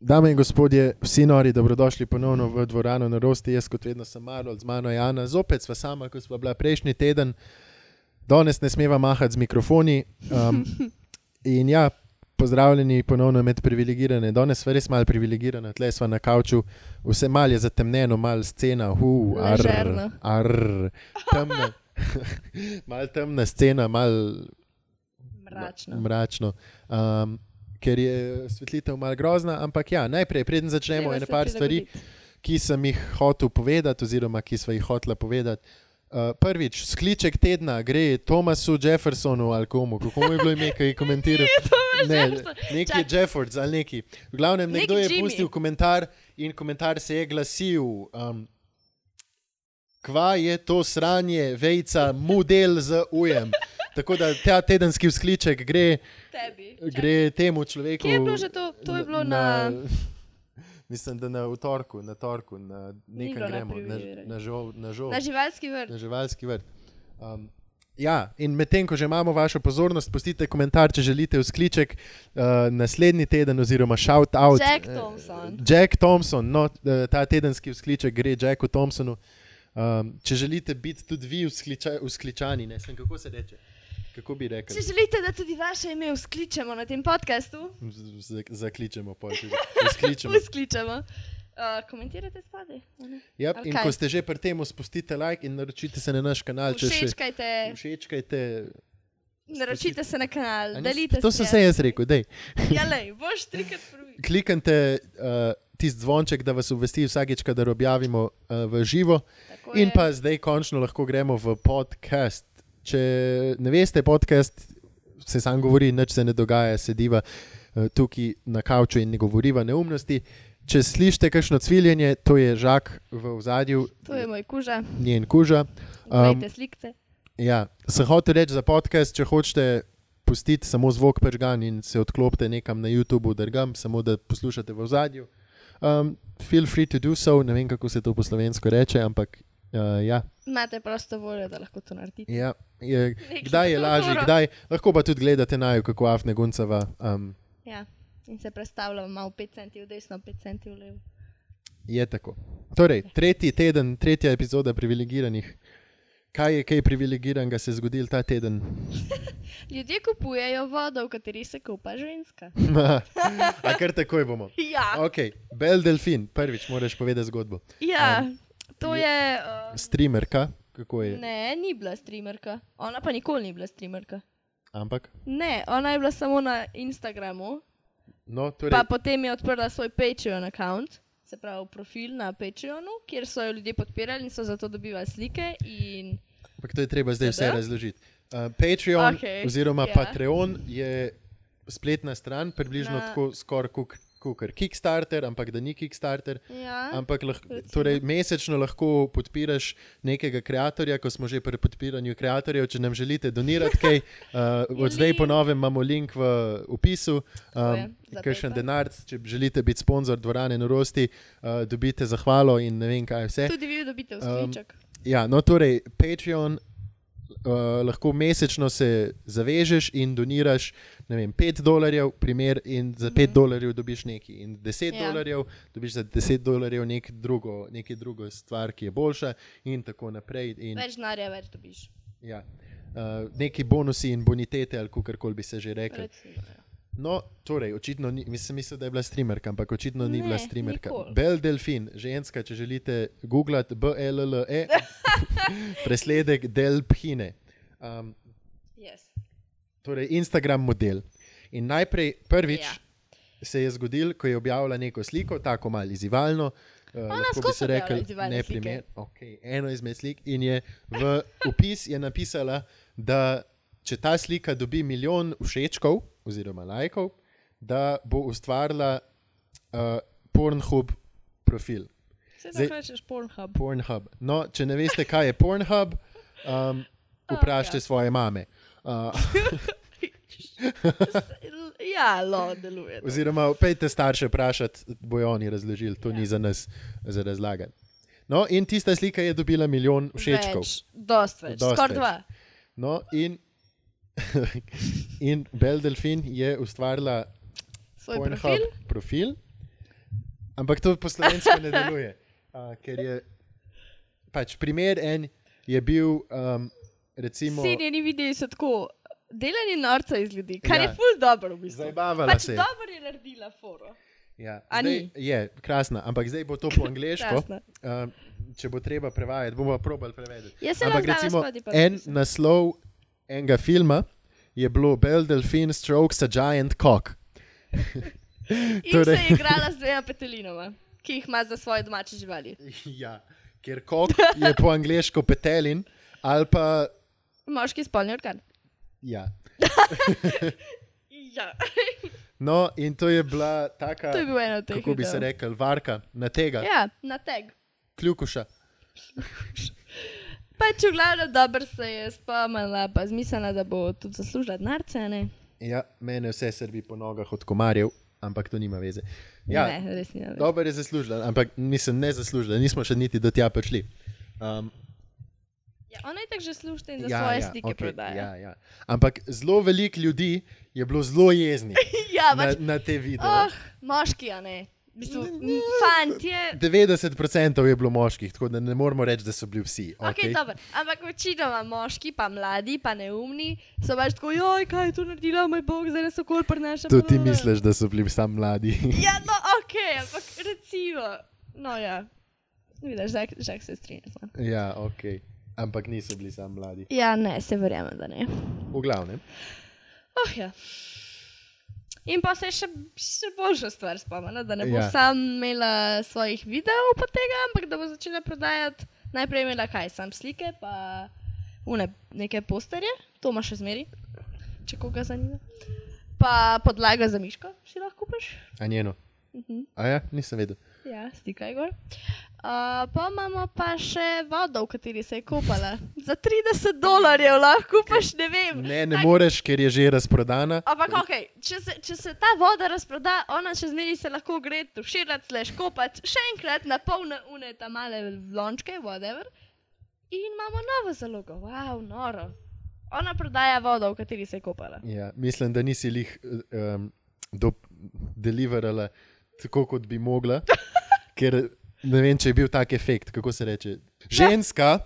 Dame in gospodje, vsi nori, dobrodošli ponovno v dvorano na Rosti. Jaz, kot vedno, sem Marlo, z mano je Ana, zopet sva sama, kot sva bila prejšnji teden. Danes ne smeva mahati z mikrofoni. Um, in ja, pozdravljeni ponovno med privilegirane. Danes sva res malo privilegirana, tle sva na kavču, vse malo je zatemnjeno, malo scena, hu, ar, Ležerno. ar, temna, mal temna scena, malo Mračno. mračno. Um, ker je svetlitev malo grozna, ampak ja, najprej, preden začnemo, Treba je se nekaj stvari, ki sem jih hotel povedati, oziroma ki smo jih hotela povedati. Uh, prvič, skliček tedna gre Thomasu Jeffersonu ali komu, kako mu je bilo ime, ki je komentiral. ne, neki Jeffords ali neki. V glavnem, Nek nekdo je Jimmy. pustil komentar in komentar se je glasil. Um, Kva je to sranje, vejca, model z ujem. Tako da ta tedenski vzkliček gre, Tebi. gre temu človeku. Kje je bilo že to? To je bilo na. Mislim, da na v torku, na torku, na bilo nekam na gremo, na, privilegirani. na, žol, na, žol, Na živalski vrt. na živalski vrt. Um, ja, in medtem, ko že imamo vašo pozornost, pustite komentar, če želite vzkliček uh, naslednji teden, oziroma shout out. Jack Thompson. Jack Thompson, no, eh, ta tedenski vzkliček gre Jacku Thompsonu. Um, če želite biti tudi vi vzkliča, vzkličani, ne vem, kako se reče. Kako bi rekel? Če želite, da tudi vaše ime uskličemo na tem podkastu, Z- z- Zakličemo, pol tudi. Vzkličemo. uskličemo. Uh, komentirate spodaj. a ne? Yep, okay. Ja, In Ok. ko ste že pri tem, spustite like in naročite se na naš kanal, če še Všečkajte, všečkajte. naročite se na A kanal, ne, delite. To sem se jaz rekel, dej. Ja, lej, boš trikrat prvi. Kliknite uh, tisti zvonček, da vas obvesti vsakeč, kadar objavimo uh, v živo. Tako In je. pa zdaj končno lahko gremo v podcast. Če ne veste, podcast se sam govori, nič se ne dogaja, sediva eh, tukaj na kavču in ne govoriva neumnosti. Če slišite kakšno cviljenje, to je žak v zadju, To je moj kuža. njen kuža. Um, Poglejte um, slike. ja, sem hotel reči za podcast, če hočete pustiti samo zvok pržgan in se odklopite nekam na YouTube, drgam, samo da poslušate v zadju. Um, feel free to do so, ne vem kako se to po slovensko reče, ampak uh, ja. Imate prosto voljo, da lahko to naredite. Ja, je, Nekaj kdaj je lažje, odgovora. kdaj lahko pa tudi gledate na jo, kako Afne Guncava. Um, Ja. In se predstavljam, malo 5 centi v desno, 5 centi v levo. je tako. Torej, tretji teden, tretja epizoda privilegiranih. Kaj je kaj privilegiranega se zgodil ta teden? Ljudje kupujejo vodo, v kateri se kupa ženska. A kar takoj bomo. Ja, Ok, Bel Delfin, prvič moraš povedati zgodbo. ja to je. Uh, Streamerka, kako je, ne, ni bila streamerka. Ona pa nikoli ni bila streamerka. ampak. Ne, ona je bila samo na Instagramu, No, torej, pa potem je odprla svoj Patreon račun. Se pravi, profil na Patreonu, kjer so jo ljudje podpirali in so zato dobivali slike. In... ampak to je treba zdaj vse Seveda. razložiti. Uh, Patreon okay, Okej, oziroma ja. yeah. Patreon je spletna stran, približno Na- tako skoraj kot Kickstarter, ampak da ni Kickstarter. Ja, Ampak lahko, recimo. torej, mesečno lahko podpiraš nekega kreatorja, ko smo že pri podpiranju kreatorjev. Če nam želite donirati kaj, uh, od zdaj Link. po novem imamo link v opisu. Tako je, Um, za Kakšen PayPal. denar, če želite biti sponzor dvorane norosti, uh, dobite zahvalo in ne vem kaj vse. tudi vi dobite vzliček. Um, Ja, no, torej, Patreon. Uh, lahko mesečno se zavežeš in doniraš ne vem, 5 dolarjev, primer, in za 5 dolarjev dobiš nekaj, in 10 Mhm. Ja. dolarjev dobiš za 10 dolarjev nek drugo, nekaj drugo stvar, ki je boljša, in tako naprej. In, več denarja, več dobiš. ja, uh, neki bonusi in bonitete, ali kako koli bi se že rekel. Recimo, ja. No, torej, očitno ni, mislim, mislim, da je bila streamerka, ampak očitno ni Ne, bila streamerka. nikoli. Bel Delfin, ženska, če želite googlati BLLE, presledek Delphine. Um, Yes. torej, Instagram model. In najprej, prvič Ja. se je zgodil, ko je objavila neko sliko, tako malo izzivalno. Uh, lahko bi skozi se objavlja rekel, izzivalne ne slike. primer. Okay, eno izmed slik in je v opis je napisala, da če ta slika dobi milijon všečkov oziroma lajkov, da bo ustvarila uh, Pornhub profil. Se Zdaj- lahko rečeš Pornhub. Pornhub. No, če ne veste, kaj je Pornhub, um, vprašajte ja. svoje mame. Uh, Ja, lo, deluje. to. Oziroma, pejte starše vprašati, bojo oni razložili, to ja. ni za nas za razlagati. No, in tista slika je dobila milijon všečkov. Več, dost več, Dost skoraj več. dva. No, in, in Bel Delfin je ustvarila Svoj Pornhub profil profil. Ampak to po slovensko ne deluje. Uh, ker je pač primer en je bil, um, recimo, Vsi njeni videi so tako delani norca iz ljudi, kar Ja. ja. je ful dobro v bistvu. zabavala Pač se. je. dobro je naredila foro. Ja. A Zdaj, ni? je krasna, ampak zdaj bo to po angliško. Krasna. um, če bo treba prevajati, bomo probali prevajati. Jaz se Ampak lahko recimo, danes spadi pa en napišem. naslov enega filma je bilo Bell Delphine Strokes a Giant Cock. In Torej- torej... se je igrala z dvema petelinoma, ki jih ima za svoje domače živali. ja, ker kok je po angliško petelin ali pa. Moški spolni organ. Ja. Ja, No, in to je bila taka, to je bil ena od teh. kako bi se videov. rekel, varka na tega, ja. Ja, na teg. kljukuša. Pač v glavnem dobro se je spomnila, pa zmislila, da bo tudi zaslužila denarce. Ne, Ja, mene vse srbi po nogah od komarjev, ampak to nima veze. Ja, ne res ni. Do... Dobro je zaslužila, ampak nisem ne zaslužila, nismo še niti do tja prišli. Um, Ja, ona je tako že služila in za ja, svoje ja, slike okay, prodaja. Ja, Ja, ja. Ampak zelo veliko ljudi je bilo zelo jeznih ja na, pač, na te oh, videe. moški, a ne. V Bistvu, m, fantje. 90% je bilo moških, tako da ne moremo reči, da so bili vsi. okej? Okay. Okay, Ampak večinoma moški, pa mladi, pa neumni, so pač tako, joj, kaj je to naredila, moj bog, zdaj so kol prnaša. Tudi ti misliš, da so bili samo mladi. Ja, no, ok, ampak recimo. No, ja. Vidiš, žak, žak se strinja. z mano. ja, ok. Ampak niso bili samo mladi. Ja, ne, se verjamem, da ne. V glavnem. Oh, ja. In pa se je še, še boljša stvar spomnila, da ne bo Ja. ja. sam imela svojih videov po tega, ampak da bo začela prodajati. Najprej je imela kaj, sam slike, pa une, neke posterje, to ima še zmeri, če koga zanima. Pa podlaga za miško, si lahko kupiš. A njeno. Mhm. A ja, nisem vedel. Ja, stikaj gor. Uh, pa imamo pa še vodo, v kateri se je kopala. Za 30 dolarjev lahko kupaš, ne vem. Ne, ne Tak- moreš, ker je že razprodana. Ampak, okay, če, se, če se ta voda razproda, ona še zmeraj se lahko gre tuširati, slash kopati, še enkrat na polne une ta male lončke, whatever. In imamo novo zalogo, wow, noro. Ona prodaja vodo, v kateri se je kopala. Ja, mislim, da nisi jih um, do, deliverala tako, kot bi mogla. Ker ne vem, če je bil tak efekt, kako se reče. Ženska,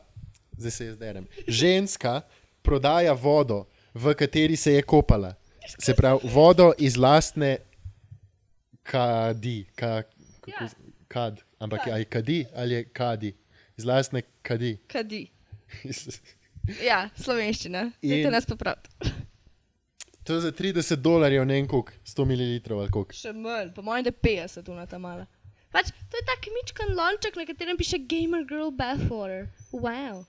zdaj se jaz derem, ženska prodaja vodo, v kateri se je kopala. Se pravi, vodo iz lastne kadi. Ka, kako, Ja. kad, ampak kad. je kadi ali je kadi, iz lastne kadi. Kadi. Ja, slovenščina. In- Vidite nas popraviti. to je za 30 dolarjev, ne en kuk, 100 ml ali koliko. Še manj, po mojem, da 50 tu na ta mala. Pač, to je tak mičkan lonček, na katerem piše Gamer Girl Bathwater. Wow.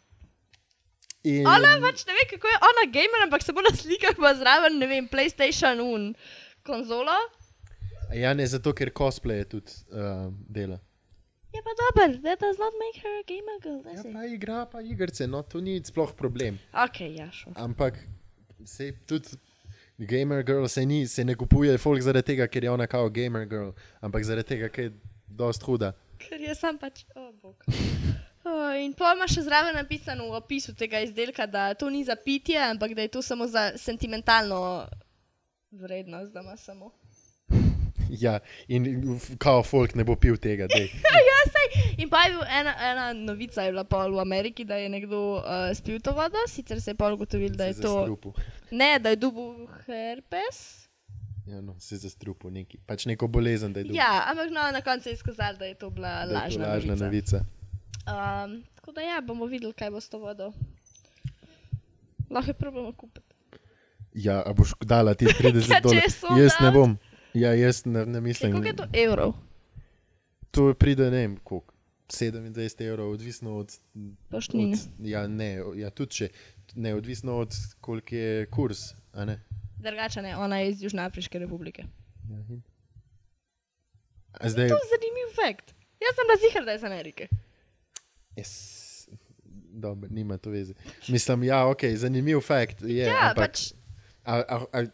In- Ona pač ne ve, kako je ona gamer, ampak se bo na slikah pa zraven, ne vem, PlayStation un konzolo. Ja, ne zato, ker cosplay je tudi uh, dela. Je pa dober, that does not make her a gamer girl, Ja, does it? pa igra, pa igrice, no to ni sploh problem. Ok, ja, šel. Ampak se tudi gamer girl se, ni, se ne kupuje folk zaradi tega, ker je ona kao gamer girl, ampak zaradi tega, ker je dost huda. Ker je sam pač, o oh, bog. Oh, in pol ima še zraven napisano v opisu tega izdelka, da to ni za pitje, ampak da je to samo za sentimentalno vrednost, da ima samo. Ja, in f- kao folk ne bo pil tega. daj. Ja, sej. In pa je bila ena, ena novica je bila pol v Ameriki, da je nekdo uh, spil to vodo, sicer se je pol ugotovil, da je Se to. zastrupil. Ne, da je dubu herpes. Ja, no, se zastrupu neki. Pač neko bolezen, da je duh. Ja, ampak no, na koncu je izkazalo, da je to bila Da je to lažna, lažna novica. Um, tako da ja, bomo videli, kaj bo s to vodo. Lahko jo probamo kupiti. Ja, a boš dala ti 30 Ja, če dolarjev? so Jaz ne dala. bom. Ja, jaz ne, ne mislim. Kako je to evrov? to pride, ne vem, koliko. 27 evrov, odvisno od. Poštnine. od ja, ne, ja, tudi če. Ne, odvisno od koliko je kurs. a ne. Drugače ne, ona je iz Južnoafriške republike. Ja, in- A Zdaj, To je zanimiv fakt. Jaz sem bila zihar, da je iz Amerike. es, dobro, nima to veze. Mislim, ja, ok, zanimiv fakt. Je, Ja, ampak, pač a, a, a,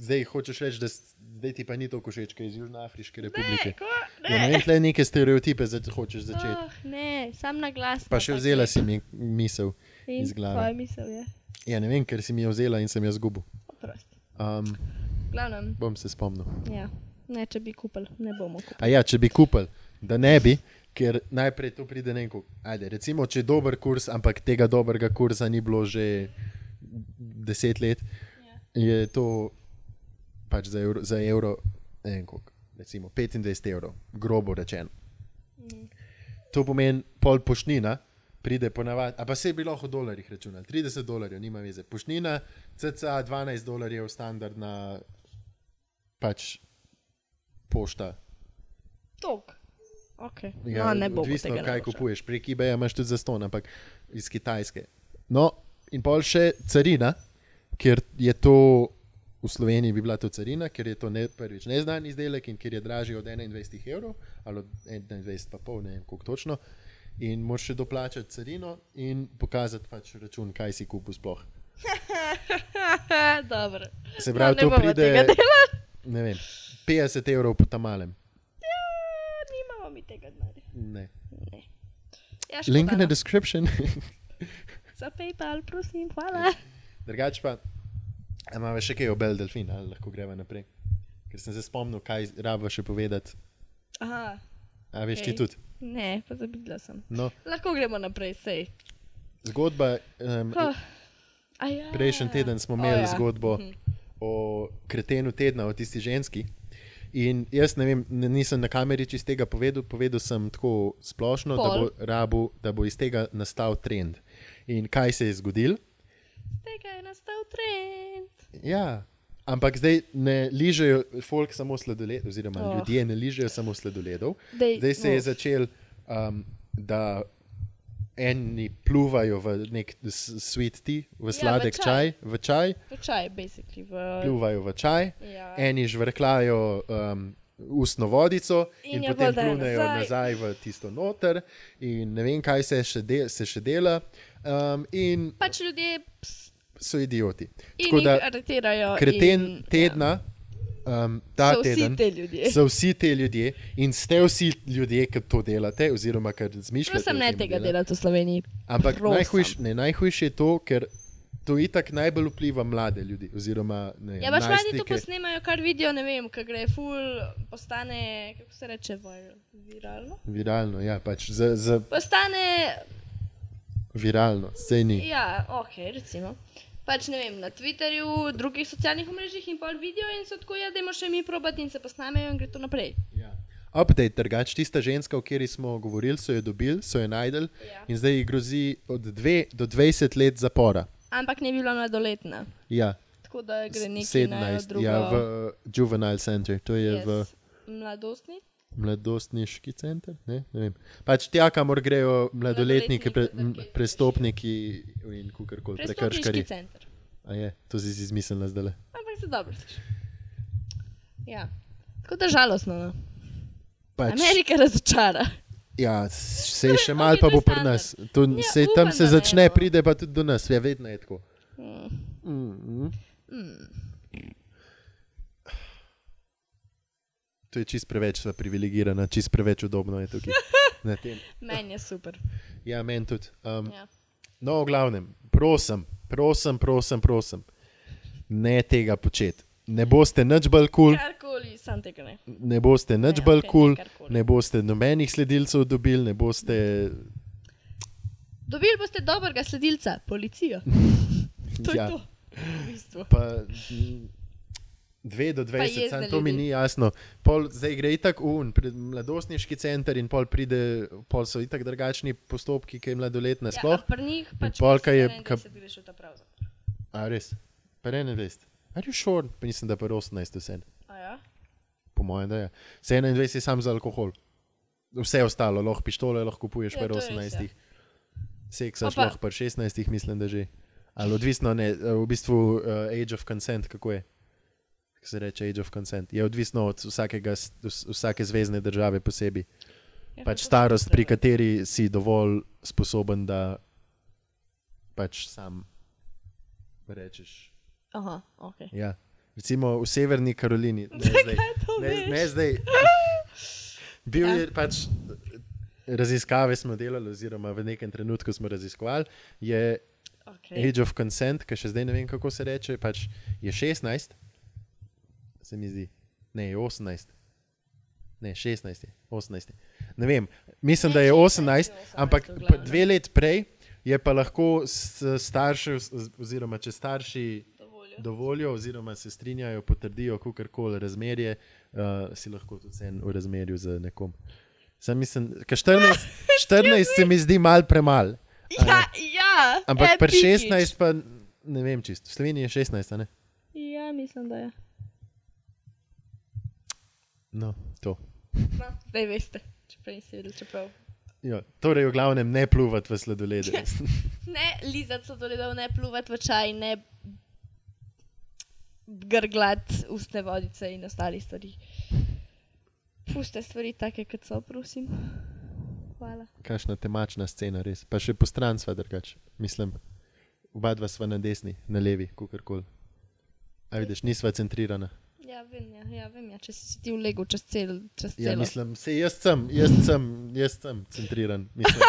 zdaj hočeš reči, da s- zdaj ti pa ni to všeč, kaj je iz Južnoafriške republike. ne, ko, Ja, ne vem, tle neke stereotipe zač, hočeš začeti. Oh, ne, sam na glas. Pa še vzela si mi misel. iz glave. Tvoja misel je. Ja, ne vem, ker si mi jo vzela in sem jo zgubil. Oprosti. Um, V Glavnem, Bom se spomnil. ja. Ne, če bi kupili, ne bomo kupili. A ja, če bi kupili, da ne bi, ker najprej to pride neko. Ajde, recimo, če je dober kurs, ampak tega dobrega kursa ni bilo že deset let, je to pač za evro, za evro ne vem koliko, recimo 25 evrov, grobo rečeno. To pomeni pol pošnina. Pride ponavadi, a pa se je bilo v dolarjih računalo, 30 dolarjev, nima veze. Pošnina, cca 12 dolarjev, standardna pač pošta. Tok. Okay. Ja, no, ne bo odvisno, tega kaj naročal. kupuješ. Prek eBaya imaš tudi zaston, ampak iz Kitajske. No, in pol še carina, ker je to v Sloveniji bi bila to carina, ker je to ne, prvič neznan izdelek in ker je dražji od 21 evrov ali od 21,5, ne vem koliko točno. In moraš še doplačati carino in pokazati pač račun, kaj si kupil sploh. Dobro. Se pravi, no, ne to bomo tega pride dela. ne vem, 50 evrov po tamalem. Ja, Nimamo mi tega denarja. Ne. Ne. Ja, škoda, Link in the no. description. Za PayPal, prosim, hvala. Drugač pa, a imamo še kaj o Bel Delfin, ali lahko greva naprej. Ker sem se spomnil, kaj rabo še povedati. Aha, A veš, okay. ti Okej. tudi. ne, pozabila sem. No, Lahko gremo naprej, sej. zgodba, um, Oh. Ja. prejšnji teden smo O, imeli ja. zgodbo o kretenu tedna, o tisti ženski. In jaz ne vem, n- nisem na kameri čist tega povedal, povedal sem tako splošno, da bo, Pol. rabu, da bo iz tega nastal trend. In kaj se je zgodilo? Tega je nastal trend. Ja. Ampak zdaj ne ližejo, folk samo sladoledov, oziroma Oh. oh. ljudje ne ližejo samo sladoledov. Dej, Zdaj se je no. začel, um, da eni pluvajo v nek s- sweet tea, v v sladek ja, v čaj. čaj. čaj, v čaj, Počaj, basically. V... pluvajo v čaj, Ja. eni žvrkljajo um, ustno vodico in, In in jo potem bolj dajo plunejo nazaj. nazaj. nazaj v tisto noter, in ne vem, kaj se še, de se še dela, um, in Pač ljudje ps, so idioti. in Tako jih da- aretirajo. kreten in, ja. tedna, ja. um, ta so teden, Vsi te ljudje. so vsi ti ljudje in ste vsi ljudje, ki to delate, oziroma kar zmišljate. o Prosim, ne tem tega delati. delati v Sloveniji. Ampak Prosim. najhujš, ne, najhujše je to, ker to itak najbolj vpliva mlade ljudi. Oziroma, ne, Ja, baš mladi to najstnike. posnemajo, kar vidijo, ne vem, kaj gre, ful, postane, kako se reče, vir- viralno. Viralno, ja, pač za, za Postane, viralno, sej ni. ja, ok, recimo. Pač ne vem, na Twitterju, drugih socialnih mrežah in pol vidijo in so tako, ja, da jim še mi probati in se posnamejo in gre to naprej. Ja. Update, drugač, tista ženska, o kateri smo govorili, so jo dobili, so jo najdel Ja. in zdaj ji grozi od 2 do 20 let zapora. Ampak ne bi bila mladoletna, Ja, tako da gre nekaj 17, drugo. ja, v eh, Juvenile Center, to je yes. v yes. mladostni. mladostniški center. Ne? Ne vem. pač tja, kamor grejo mladoletni, ki pre, m, Mladoletni, prestopniki in kakorkoli Prestopniški prekrškari. center. A je, to si si izmislila zdaj. Ampak se dobro sliši. Ja. Tako da žalostno. No. Pač, Amerika razočara. ja, se še Ok, malo pa to je bo pri standard. nas. To, Ja, ja, se, upam, tam se da ne začne, bo. pride pa tudi do nas, ja, vedno je tako. Mm. Mm -hmm. To je čist preveč sva privilegirana, čist preveč udobno je tukaj. na tem. Meni je super. Ja, meni tudi. Um, Ja. No, v glavnem, prosim, prosim, prosim, prosim. ne tega početi. Ne boste nič bolj kul, cool, Karkoli, sam tega ne. ne boste nič Ne, bolj okej, kul, cool, karkoli. ne boste nobenih sledilcev dobili, ne boste. Dobili boste dobrega sledilca, policijo. To ja, ja. je to. V bistvu. pa, mm, dve do dvajset, jezde samo to mi ljudi. ni jasno. Pol, zdaj gre tako un, pred mladostniški center in pol pride, pol so itak drugačni postopki, ki je mladoletna Ja, sploh. a pri njih pač pol, kaj je- Kaj greš v ta prav. A res, pa ne veste. Are you sure? Pa mislim, da pa 18 vse. Ja? Po mojem, da je. Se 21 je sam za alkohol. Vse ostalo, lahko pištole, lahko kupuješ Ja, pri to je res, 18. Seksaš Pa pa- lahko pri 16, mislim, da že. Ali odvisno, ne, v bistvu uh, age of consent, kako je. Kako se reče age of consent? Je odvisno od vsakega, s- vs- vsake zvezdne države posebej. Ja, Pač to starost, se pri pravi. kateri si dovolj sposoben, da pač sam rečeš. Aha, ok. Ja. Recimo v Severni Karolini, ne zdaj, to ne, veš? Ja. ne zdaj. Bil je pač. Raziskave smo delali, oziroma v nekem trenutku smo raziskovali, je okay. Age of Consent, ki še zdaj ne vem, kako se reče, pač je 16, se mi zdi, ne, je 18, Ne, 16, 18. Ne vem, mislim, da je 18, ampak pa dve leti prej je pa lahko s- starši, oz- oziroma če starši dovolijo, oziroma se strinjajo, potrdijo, kako koli razmerje, uh, si lahko tudi en v razmerju z nekom. Sam mislim, ka 14, 14 se mi zdi mal premal, Ja, ja. eh. ampak pri epikič. 16 pa ne vem čisto. V Sloveniji je 16, a ne? Ja, mislim, da je. No, to. No, zdaj veste, čeprav niste videli, čeprav. Jo, torej, v glavnem ne pluvati v sladolede. Ne lizati so doledal, ne pluvati v čaj, ne grglati ustne vodice in ostalih stvari. Puste stvari take, kot so, prosim. Hvala. Kakšna temačna scena, res. Pa še postran sva drugače, mislim. Oba dva sva na desni, na levi, kakorkoli. A vidiš, nisva centrirana. Ja, vem, ja, ja, vem ja. če si si ti vlegel čez cel, čez Ja, celo. mislim, se jaz sem, jaz sem, jaz sem centriran. Mislim.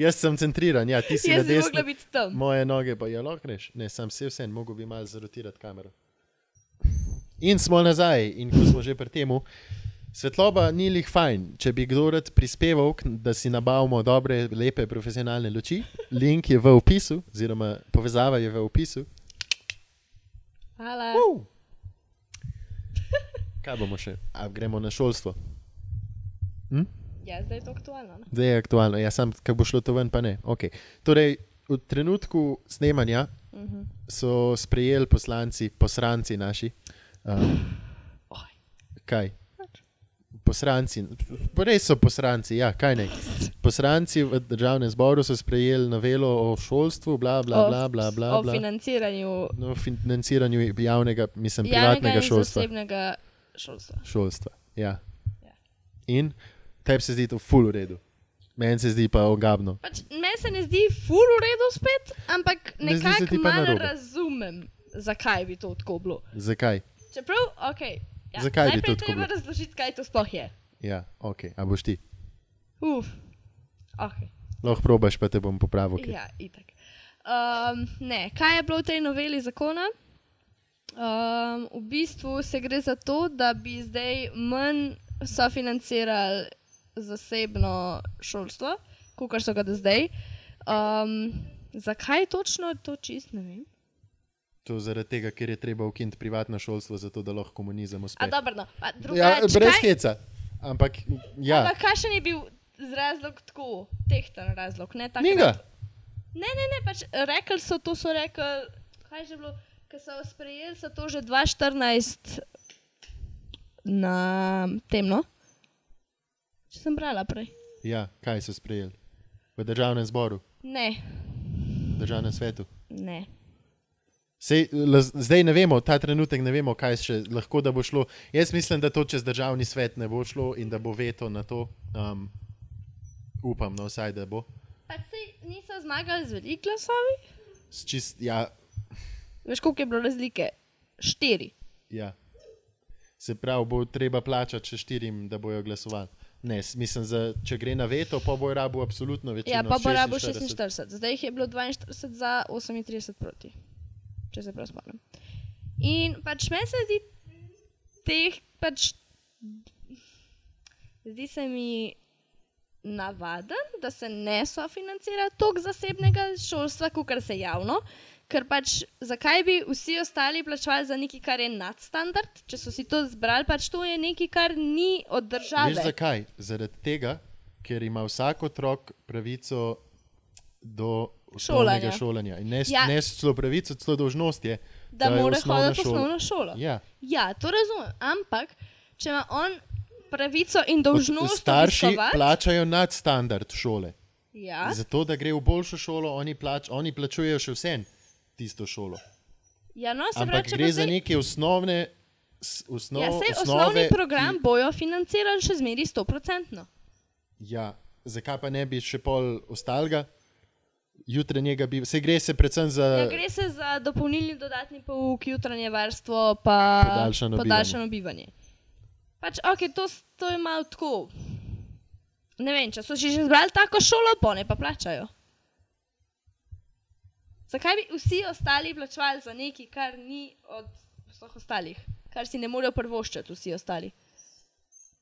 Jaz sem centriran, ja, ti si na Jaz bi mogla desni. biti tam. Moje noge pa je lahko reš, ne, sam se vsem, mogo bi malo zarotirati kamero. In smo nazaj, in ko smo že pri tem, svetloba ni lih fajn. Če bi kdo rad prispeval, k- da si nabavimo dobre, lepe, profesionalne luči, link je v opisu, oziroma povezava je v opisu. Ja. Hvala. Uh. Kaj bomo še? A gremo na šolstvo. Hm? Ja, zdaj je to aktualno. Ne? Zdaj je aktualno, ja, sam, kaj bo šlo to ven, pa ne. Okay. Torej, v trenutku snemanja Uh -huh. so sprejeli poslanci, posranci naši. Um, Oj. kaj? Posranci, res so posranci, ja, kaj ne. Poslanci v državnem zboru so sprejeli novelo o šolstvu, bla, bla, bla, bla, bla, o bla. financiranju No, financiranju javnega, mislim, javnega privatnega in šolstva. zasebnega šolstva. šolstva. Ja. Ja. In tebi se zdi to ful v redu, meni se zdi pa ogabno. Pač, meni se ne zdi fur v redu spet, ampak Ne zdi se ti nekako pa malo narobe. razumem, zakaj bi to tako bilo. Zakaj? Čeprav, ok. Ja, Zakaj bi to najprej tako treba bilo? razložiti, kaj to sploh je. Ja, ok, a boš ti. Uf, ok. Lahko probaš, pa te bom popravil. Okay. Okay. Ja, itak. Um, ne, kaj je bilo v tej noveli zakona? Um, v bistvu se gre za to, da bi zdaj manj sofinancirali zasebno šolstvo, kot so ga do zdaj. Um, zakaj točno to čist ne vem? To je zaradi tega, ker je treba ukiniti privatno šolstvo, zato da lahko komunizem uspe. A, dobro, no. A, ja, drugač, brez kaj- heca. Ampak ja, Ampak kakšen je bil z razlog tako tehten razlog? Ne, ni ga. takrat, Ne, ne, ne, pač rekli so to, so rekli, kaj je že bilo, ki so sprejeli, so to že 2014 na temno. Če sem brala prej. Ja, kaj so sprejeli? V državnem zboru, Ne, v državnem svetu. ne. Sej, la, zdaj ne vemo, ta trenutek ne vemo, kaj še lahko da bo šlo. Jaz mislim, da to čez državni svet ne bo šlo in da bo veto na to. Um, upam, no, vsaj da bo. Pač se niso zmagali z veliko glasovi. S Čist, ja, Veš, koliko je bilo razlike? Štiri. ja. Se pravi, bo treba plačati še štirim, da bojo glasovali. Ne, s- mislim, za, če gre na veto, pa bo rabo absolutno večino. Ja, pa bo rabo 46. Zdaj jih je bilo 42 za 38 proti, če se prav spomnim. In pač meni se zdi teh, pač zdi se mi navaden, da se ne sofinancira toliko zasebnega šolstva, kot se javno. Ker pač zakaj bi vsi ostali plačali za nekaj, kar je nadstandard, če so si to zbrali, pač to je nekaj, kar ni od Veš države. zakaj? Zaradi tega, ker ima vsak otrok pravico do osnovnega Šolanja. šolanja. In ne, ja. Ja. ne celo pravico, celo dožnost je, Da, da je mora osnovna hoditi v šola- osnovno šolo. Ja. Ja, to razumem, ampak če ima on pravico in Od- dolžnost, Starši obiskovati- plačajo nadstandard šole. Ja, Zato, da gre v boljšo šolo, oni, plač, oni plačujejo še vsem tisto šolo. ja, no, se pravi, Ampak če gre bo za zdaj- neke osnovne. s- Osnov, ja, saj osnove, osnovni program Ki, bojo financirali še zmeraj 100%. ja, zakaj pa ne bi še pol ostalega, jutranjega bi. Se gre se predvsem Ja, za. gre se za dopolnilni dodatni pouk, jutranje varstvo, pa Podaljšano podaljšano bivanje. Pač, ok, to, s- to je malo tako. Ne vem, če so si že izbrali tako šolo, bone pa plačajo. Zakaj bi vsi ostali plačali za nekaj, kar ni od vseh ostalih, kar si ne morejo prvoščiti vsi ostali?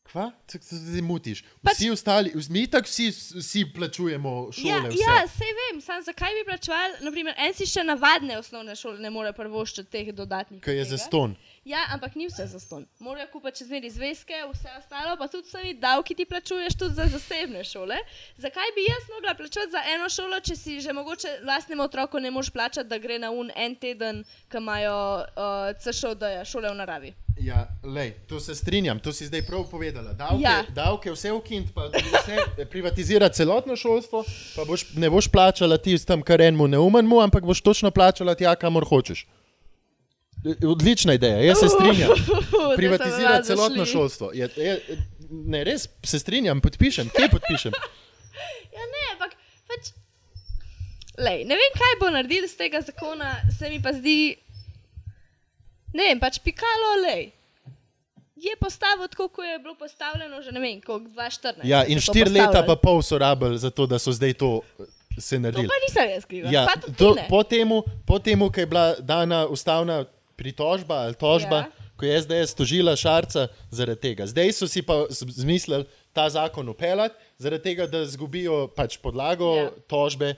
Kva? Tako se zdaj mutiš. Vsi ostali, vz- mi tako vsi, vsi plačujemo Pač- Ja, šole. vse. ja sej vem, samo zakaj bi plačevali, naprimer, en si še navadne osnovne šole ne more prvoščiti teh dodatnih. Ker je tega. za ston. Ja, ampak ni vse za ston. Morajo kupiti čez meri zvezke, vse ostalo, pa tudi sami davki ti plačuješ tudi za zasebne šole. Zakaj bi jaz mogla plačati za eno šolo, če si že mogoče lastnemu otroku ne moreš plačati, da gre na un en teden, ki imajo uh, CŠOD-ja, šole v naravi? Ja, lej, to se strinjam, to si zdaj prav povedala. Davke, ja. Ja. davke vse ukiniti, pa vse privatizirati celotno šolstvo, pa boš, ne boš plačala ti s tem, kar enemu neumenemu, ampak boš točno plačala tja, kamor hočeš. Odlična ideja, jaz Uh. se strinjam. Privatizirati celotno šolstvo. Je, je, ne, res se strinjam, podpišem, kje podpišem. Ja, ne, ampak pač. Lej, ne vem, kaj bo naredil iz tega zakona, se mi pa zdi. Ne vem, pač pikalo lej. Je postavljeno tako, kot je bilo postavljeno že ne vem, koliko 2014. Ja, so in to štiri leta pa postavljali. pol so rabili za to, da so zdaj to eh, se To naredili. pa nisem jaz kriva. Ja, pa tudi to, ne. po, temu, po temu, ko je bila dana ustavna pritožba ali tožba, ja. Ja. ko je SDS tožila Šarca zaradi tega. Zdaj so si pa z- zmislili ta zakon upeljati, zaradi tega, da izgubijo pač podlago ja. Ja. tožbe.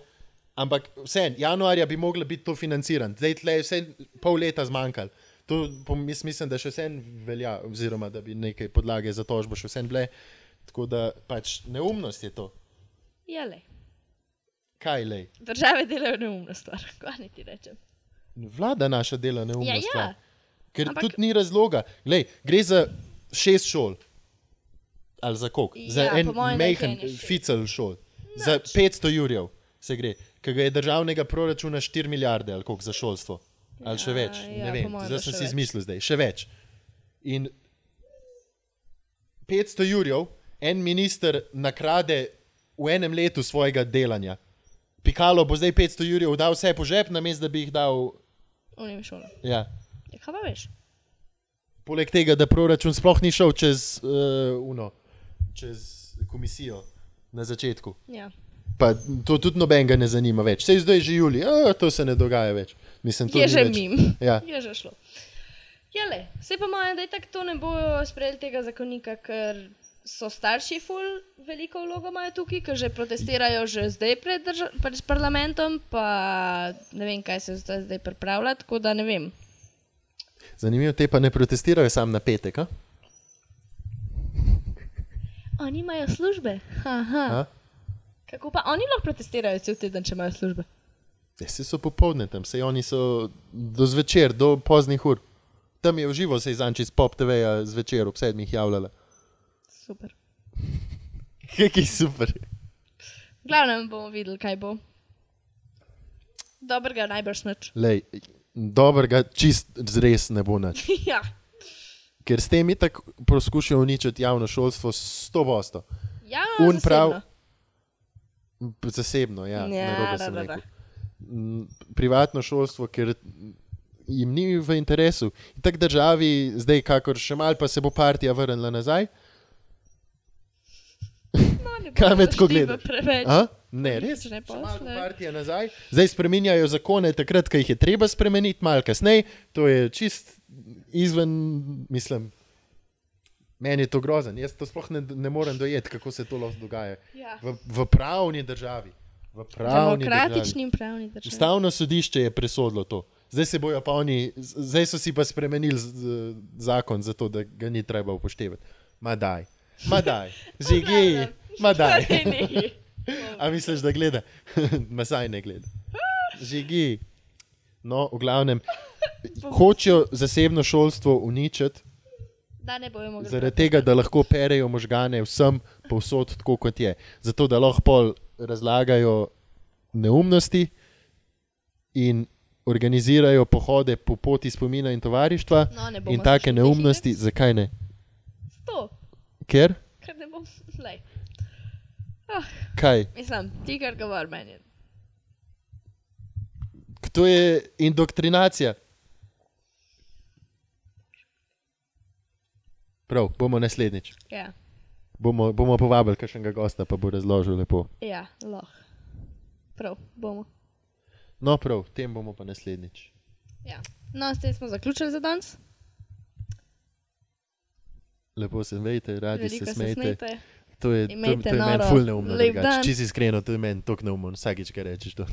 Ampak vse, januarja bi moglo biti to financirano, zdaj tle je vse pol leta zmanjkalo. To po- jaz mislim, da še vse velja, oziroma da bi nekaj podlage za tožbo še vse bile. Tako da pač neumnost je to. Ja, lej. Kaj le? Države delajo neumno stvar, kaj naj ti rečem. Vlada naša dela neumno Ja, ja. stvar. Ker Ampak... Ampak- tudi ni razloga. Glej, gre za šest šol. Ali za koliko? Ja, za en po mojem, da jih je majhen, ene šest. ficel šol. Za 500 jurjev se gre, ki ga je državnega proračuna 4 milijarde ali koliko za šolstvo. Ali še več. ne ja, po vem, mojem, zdaj da sem še si več. izmislil zdaj, še več. In 500 jurjev en minister nakrade v enem letu svojega delanja. Pikalo bo zdaj 500 jurjev dal vse po žep, namesto da bi jih dal. Unim šolam. Ja. Ja, kaj pa veš? Poleg tega, da proračun sploh ni šel čez, uh, uno, čez komisijo na začetku. Ja. Pa to tudi nobenega ne zanima več. Sej zdaj je že julij, a, to se ne dogaja več. Mislim, to Je ni že več. mim. Ja. Je že šlo. Ja, le, vse po mojem, da je tako, to ne bojo sprejeli tega zakonika, ker so starši ful veliko vlogo imajo tukaj, ker že protestirajo že zdaj pred, drža- pred parlamentom, pa ne vem, kaj se zdaj, zdaj pripravlja, tako da ne vem. Zanimivo, te pa ne protestirajo sam na petek. a? Oni imajo službe. Aha. A? Kako pa oni lahko protestirajo cel teden, če imajo službe? Ja, se so popoldne tam, se oni so do zvečer, do poznih ur. Tam je uživo se izanči iz pop TV-ja zvečer ob sedmih javljala. Super. Kaj super. V glavnem bomo videli, kaj bo. Dobrega najbrž nič. Lej, dobrega čist zres ne bo nič. ja. ker s tem itak poskušajo uničiti javno šolstvo s to bosto. Ja, Un zasebno. prav- P- Zasebno, ja, Ja, narobe da, sem da, rekel. M, Privatno šolstvo, ker jim ni v interesu. In tako državi, zdaj, kakor še mal, pa se bo partija vrnila nazaj. No, ne Kaj bomo me tako zašli v gledaš? Preveč. A? Ne, res. Politične Še malo bo posle. partija nazaj. Zdaj spreminjajo zakone, takrat, ko jih je treba spremeniti, malo kasneje. To je čist izven, mislim. Meni je to grozen, jaz to sploh ne, ne morem dojeti, kako se to lahko dogaja. Ja. V, v pravni državi. V pravni državi. Demokratični in pravni državi. Ustavno sodišče je presodilo to. Zdaj, se bojo pa oni, z- zdaj so si pa spremenili z- z- zakon, zato da ga ni treba upoštevati. Ma daj, ma daj, žigi, ma daj. Torej ne. A misliš, da gleda? Masaj ne gleda. Žigi. No, v glavnem, hočejo zasebno šolstvo uničiti, Da ne bojo mogli. zaradi tega, da lahko perejo možgane vsem povsod, tako kot je. Zato, da lahko pol razlagajo neumnosti in organizirajo pohode po poti spomina in tovarištva No, ne bomo in take zašli v teh neumnosti, zakaj ne? To, Ker? ker ne bom. Lej. Kaj? Mislim, ti kar govor meni. To je indoktrinacija. Prav, bomo naslednjič. Ja, Bomo, bomo povabili kakšnega gosta, pa bo razložil lepo. ja lahko. Prav, bomo. No, prav, tem bomo pa naslednjič. Ja. No, s tem smo zaključili za danes. lepo se smejte, radi Veliko se smejte. smejte. To je, to, Imejte to je meni noro. ful neumno. Lep drugače. dan. Čisto iskreno, to je meni tako neumno, vsakič, kar rečeš. to.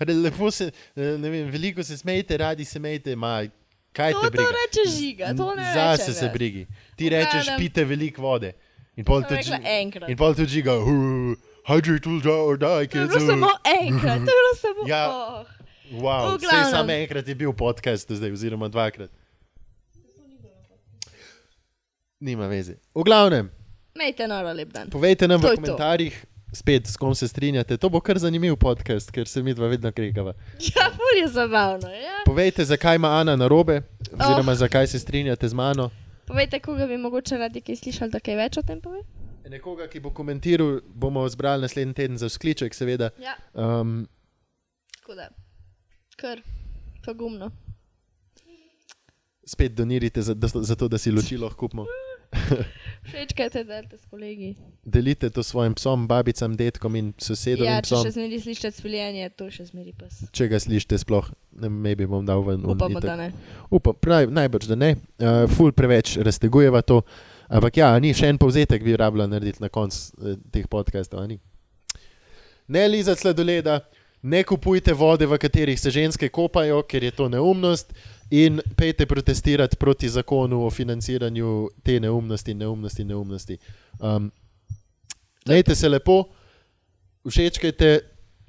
Lepo se, eh, ne vem, veliko se smejte, radi se smejte, ma, kaj No, To, te to briga. reče žiga, to ne reče. Zase se več. brigi. Ti V rečeš, glavnem. pite veliko vode. In pol Sem tudi, rekla enkrat. in pol tudi ga, "Hu, hydrate will die or die, To je kids. bilo samo enkrat, to je bilo samo Ja. oh. Wow, V vse glavnem. samo enkrat je bil podcast, zdaj, oziroma dvakrat. Nima veze. V glavnem, Mejte noro lep dan. povejte nam To v je to. komentarjih, spet s kom se strinjate. To bo kar zanimiv podcast, ker se mi dva vedno kregava. Ja, ful je zabavno. Ja. Povejte, zakaj ima Ana narobe, oziroma Oh. zakaj se strinjate z mano. Povejte, koga bi mogoče radi kaj slišali, da kaj več o tem pove? Nekoga, ki bo komentiral, bomo zbrali naslednji teden za skliček, seveda. Ja, Um, tako da. Kar, pogumno. spet donirite, za, da, za to, da si ločilo kupimo. Všečkajte, delite s kolegi. Delite to svojim psom, babicam, detkom in sosedom. Ja, Ja, če psom, še zmeri slišite cviljenje, to še zmeri pes. če ga slišite, sploh ne maybe bom dal ven. on No, Upamo, itak. da ne. Upam, pravi, najbrž da ne. Uh, ful preveč raztegujeva to. Ampak ja, a ni še en povzetek, bi rabila narediti na koncu uh, teh podkastov. a ni? Ne lizati sladoleda, ne kupujte vode, v katerih se ženske kopajo, ker je to neumnost. In pejte protestirati proti zakonu o financiranju te neumnosti, neumnosti, neumnosti. Um, Najte se lepo, všečkajte,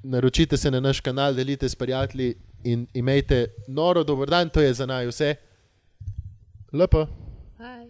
naročite se na naš kanal, delite s prijatelji in imejte noro, dober dan, to je za naj vse. Lepo. Bye.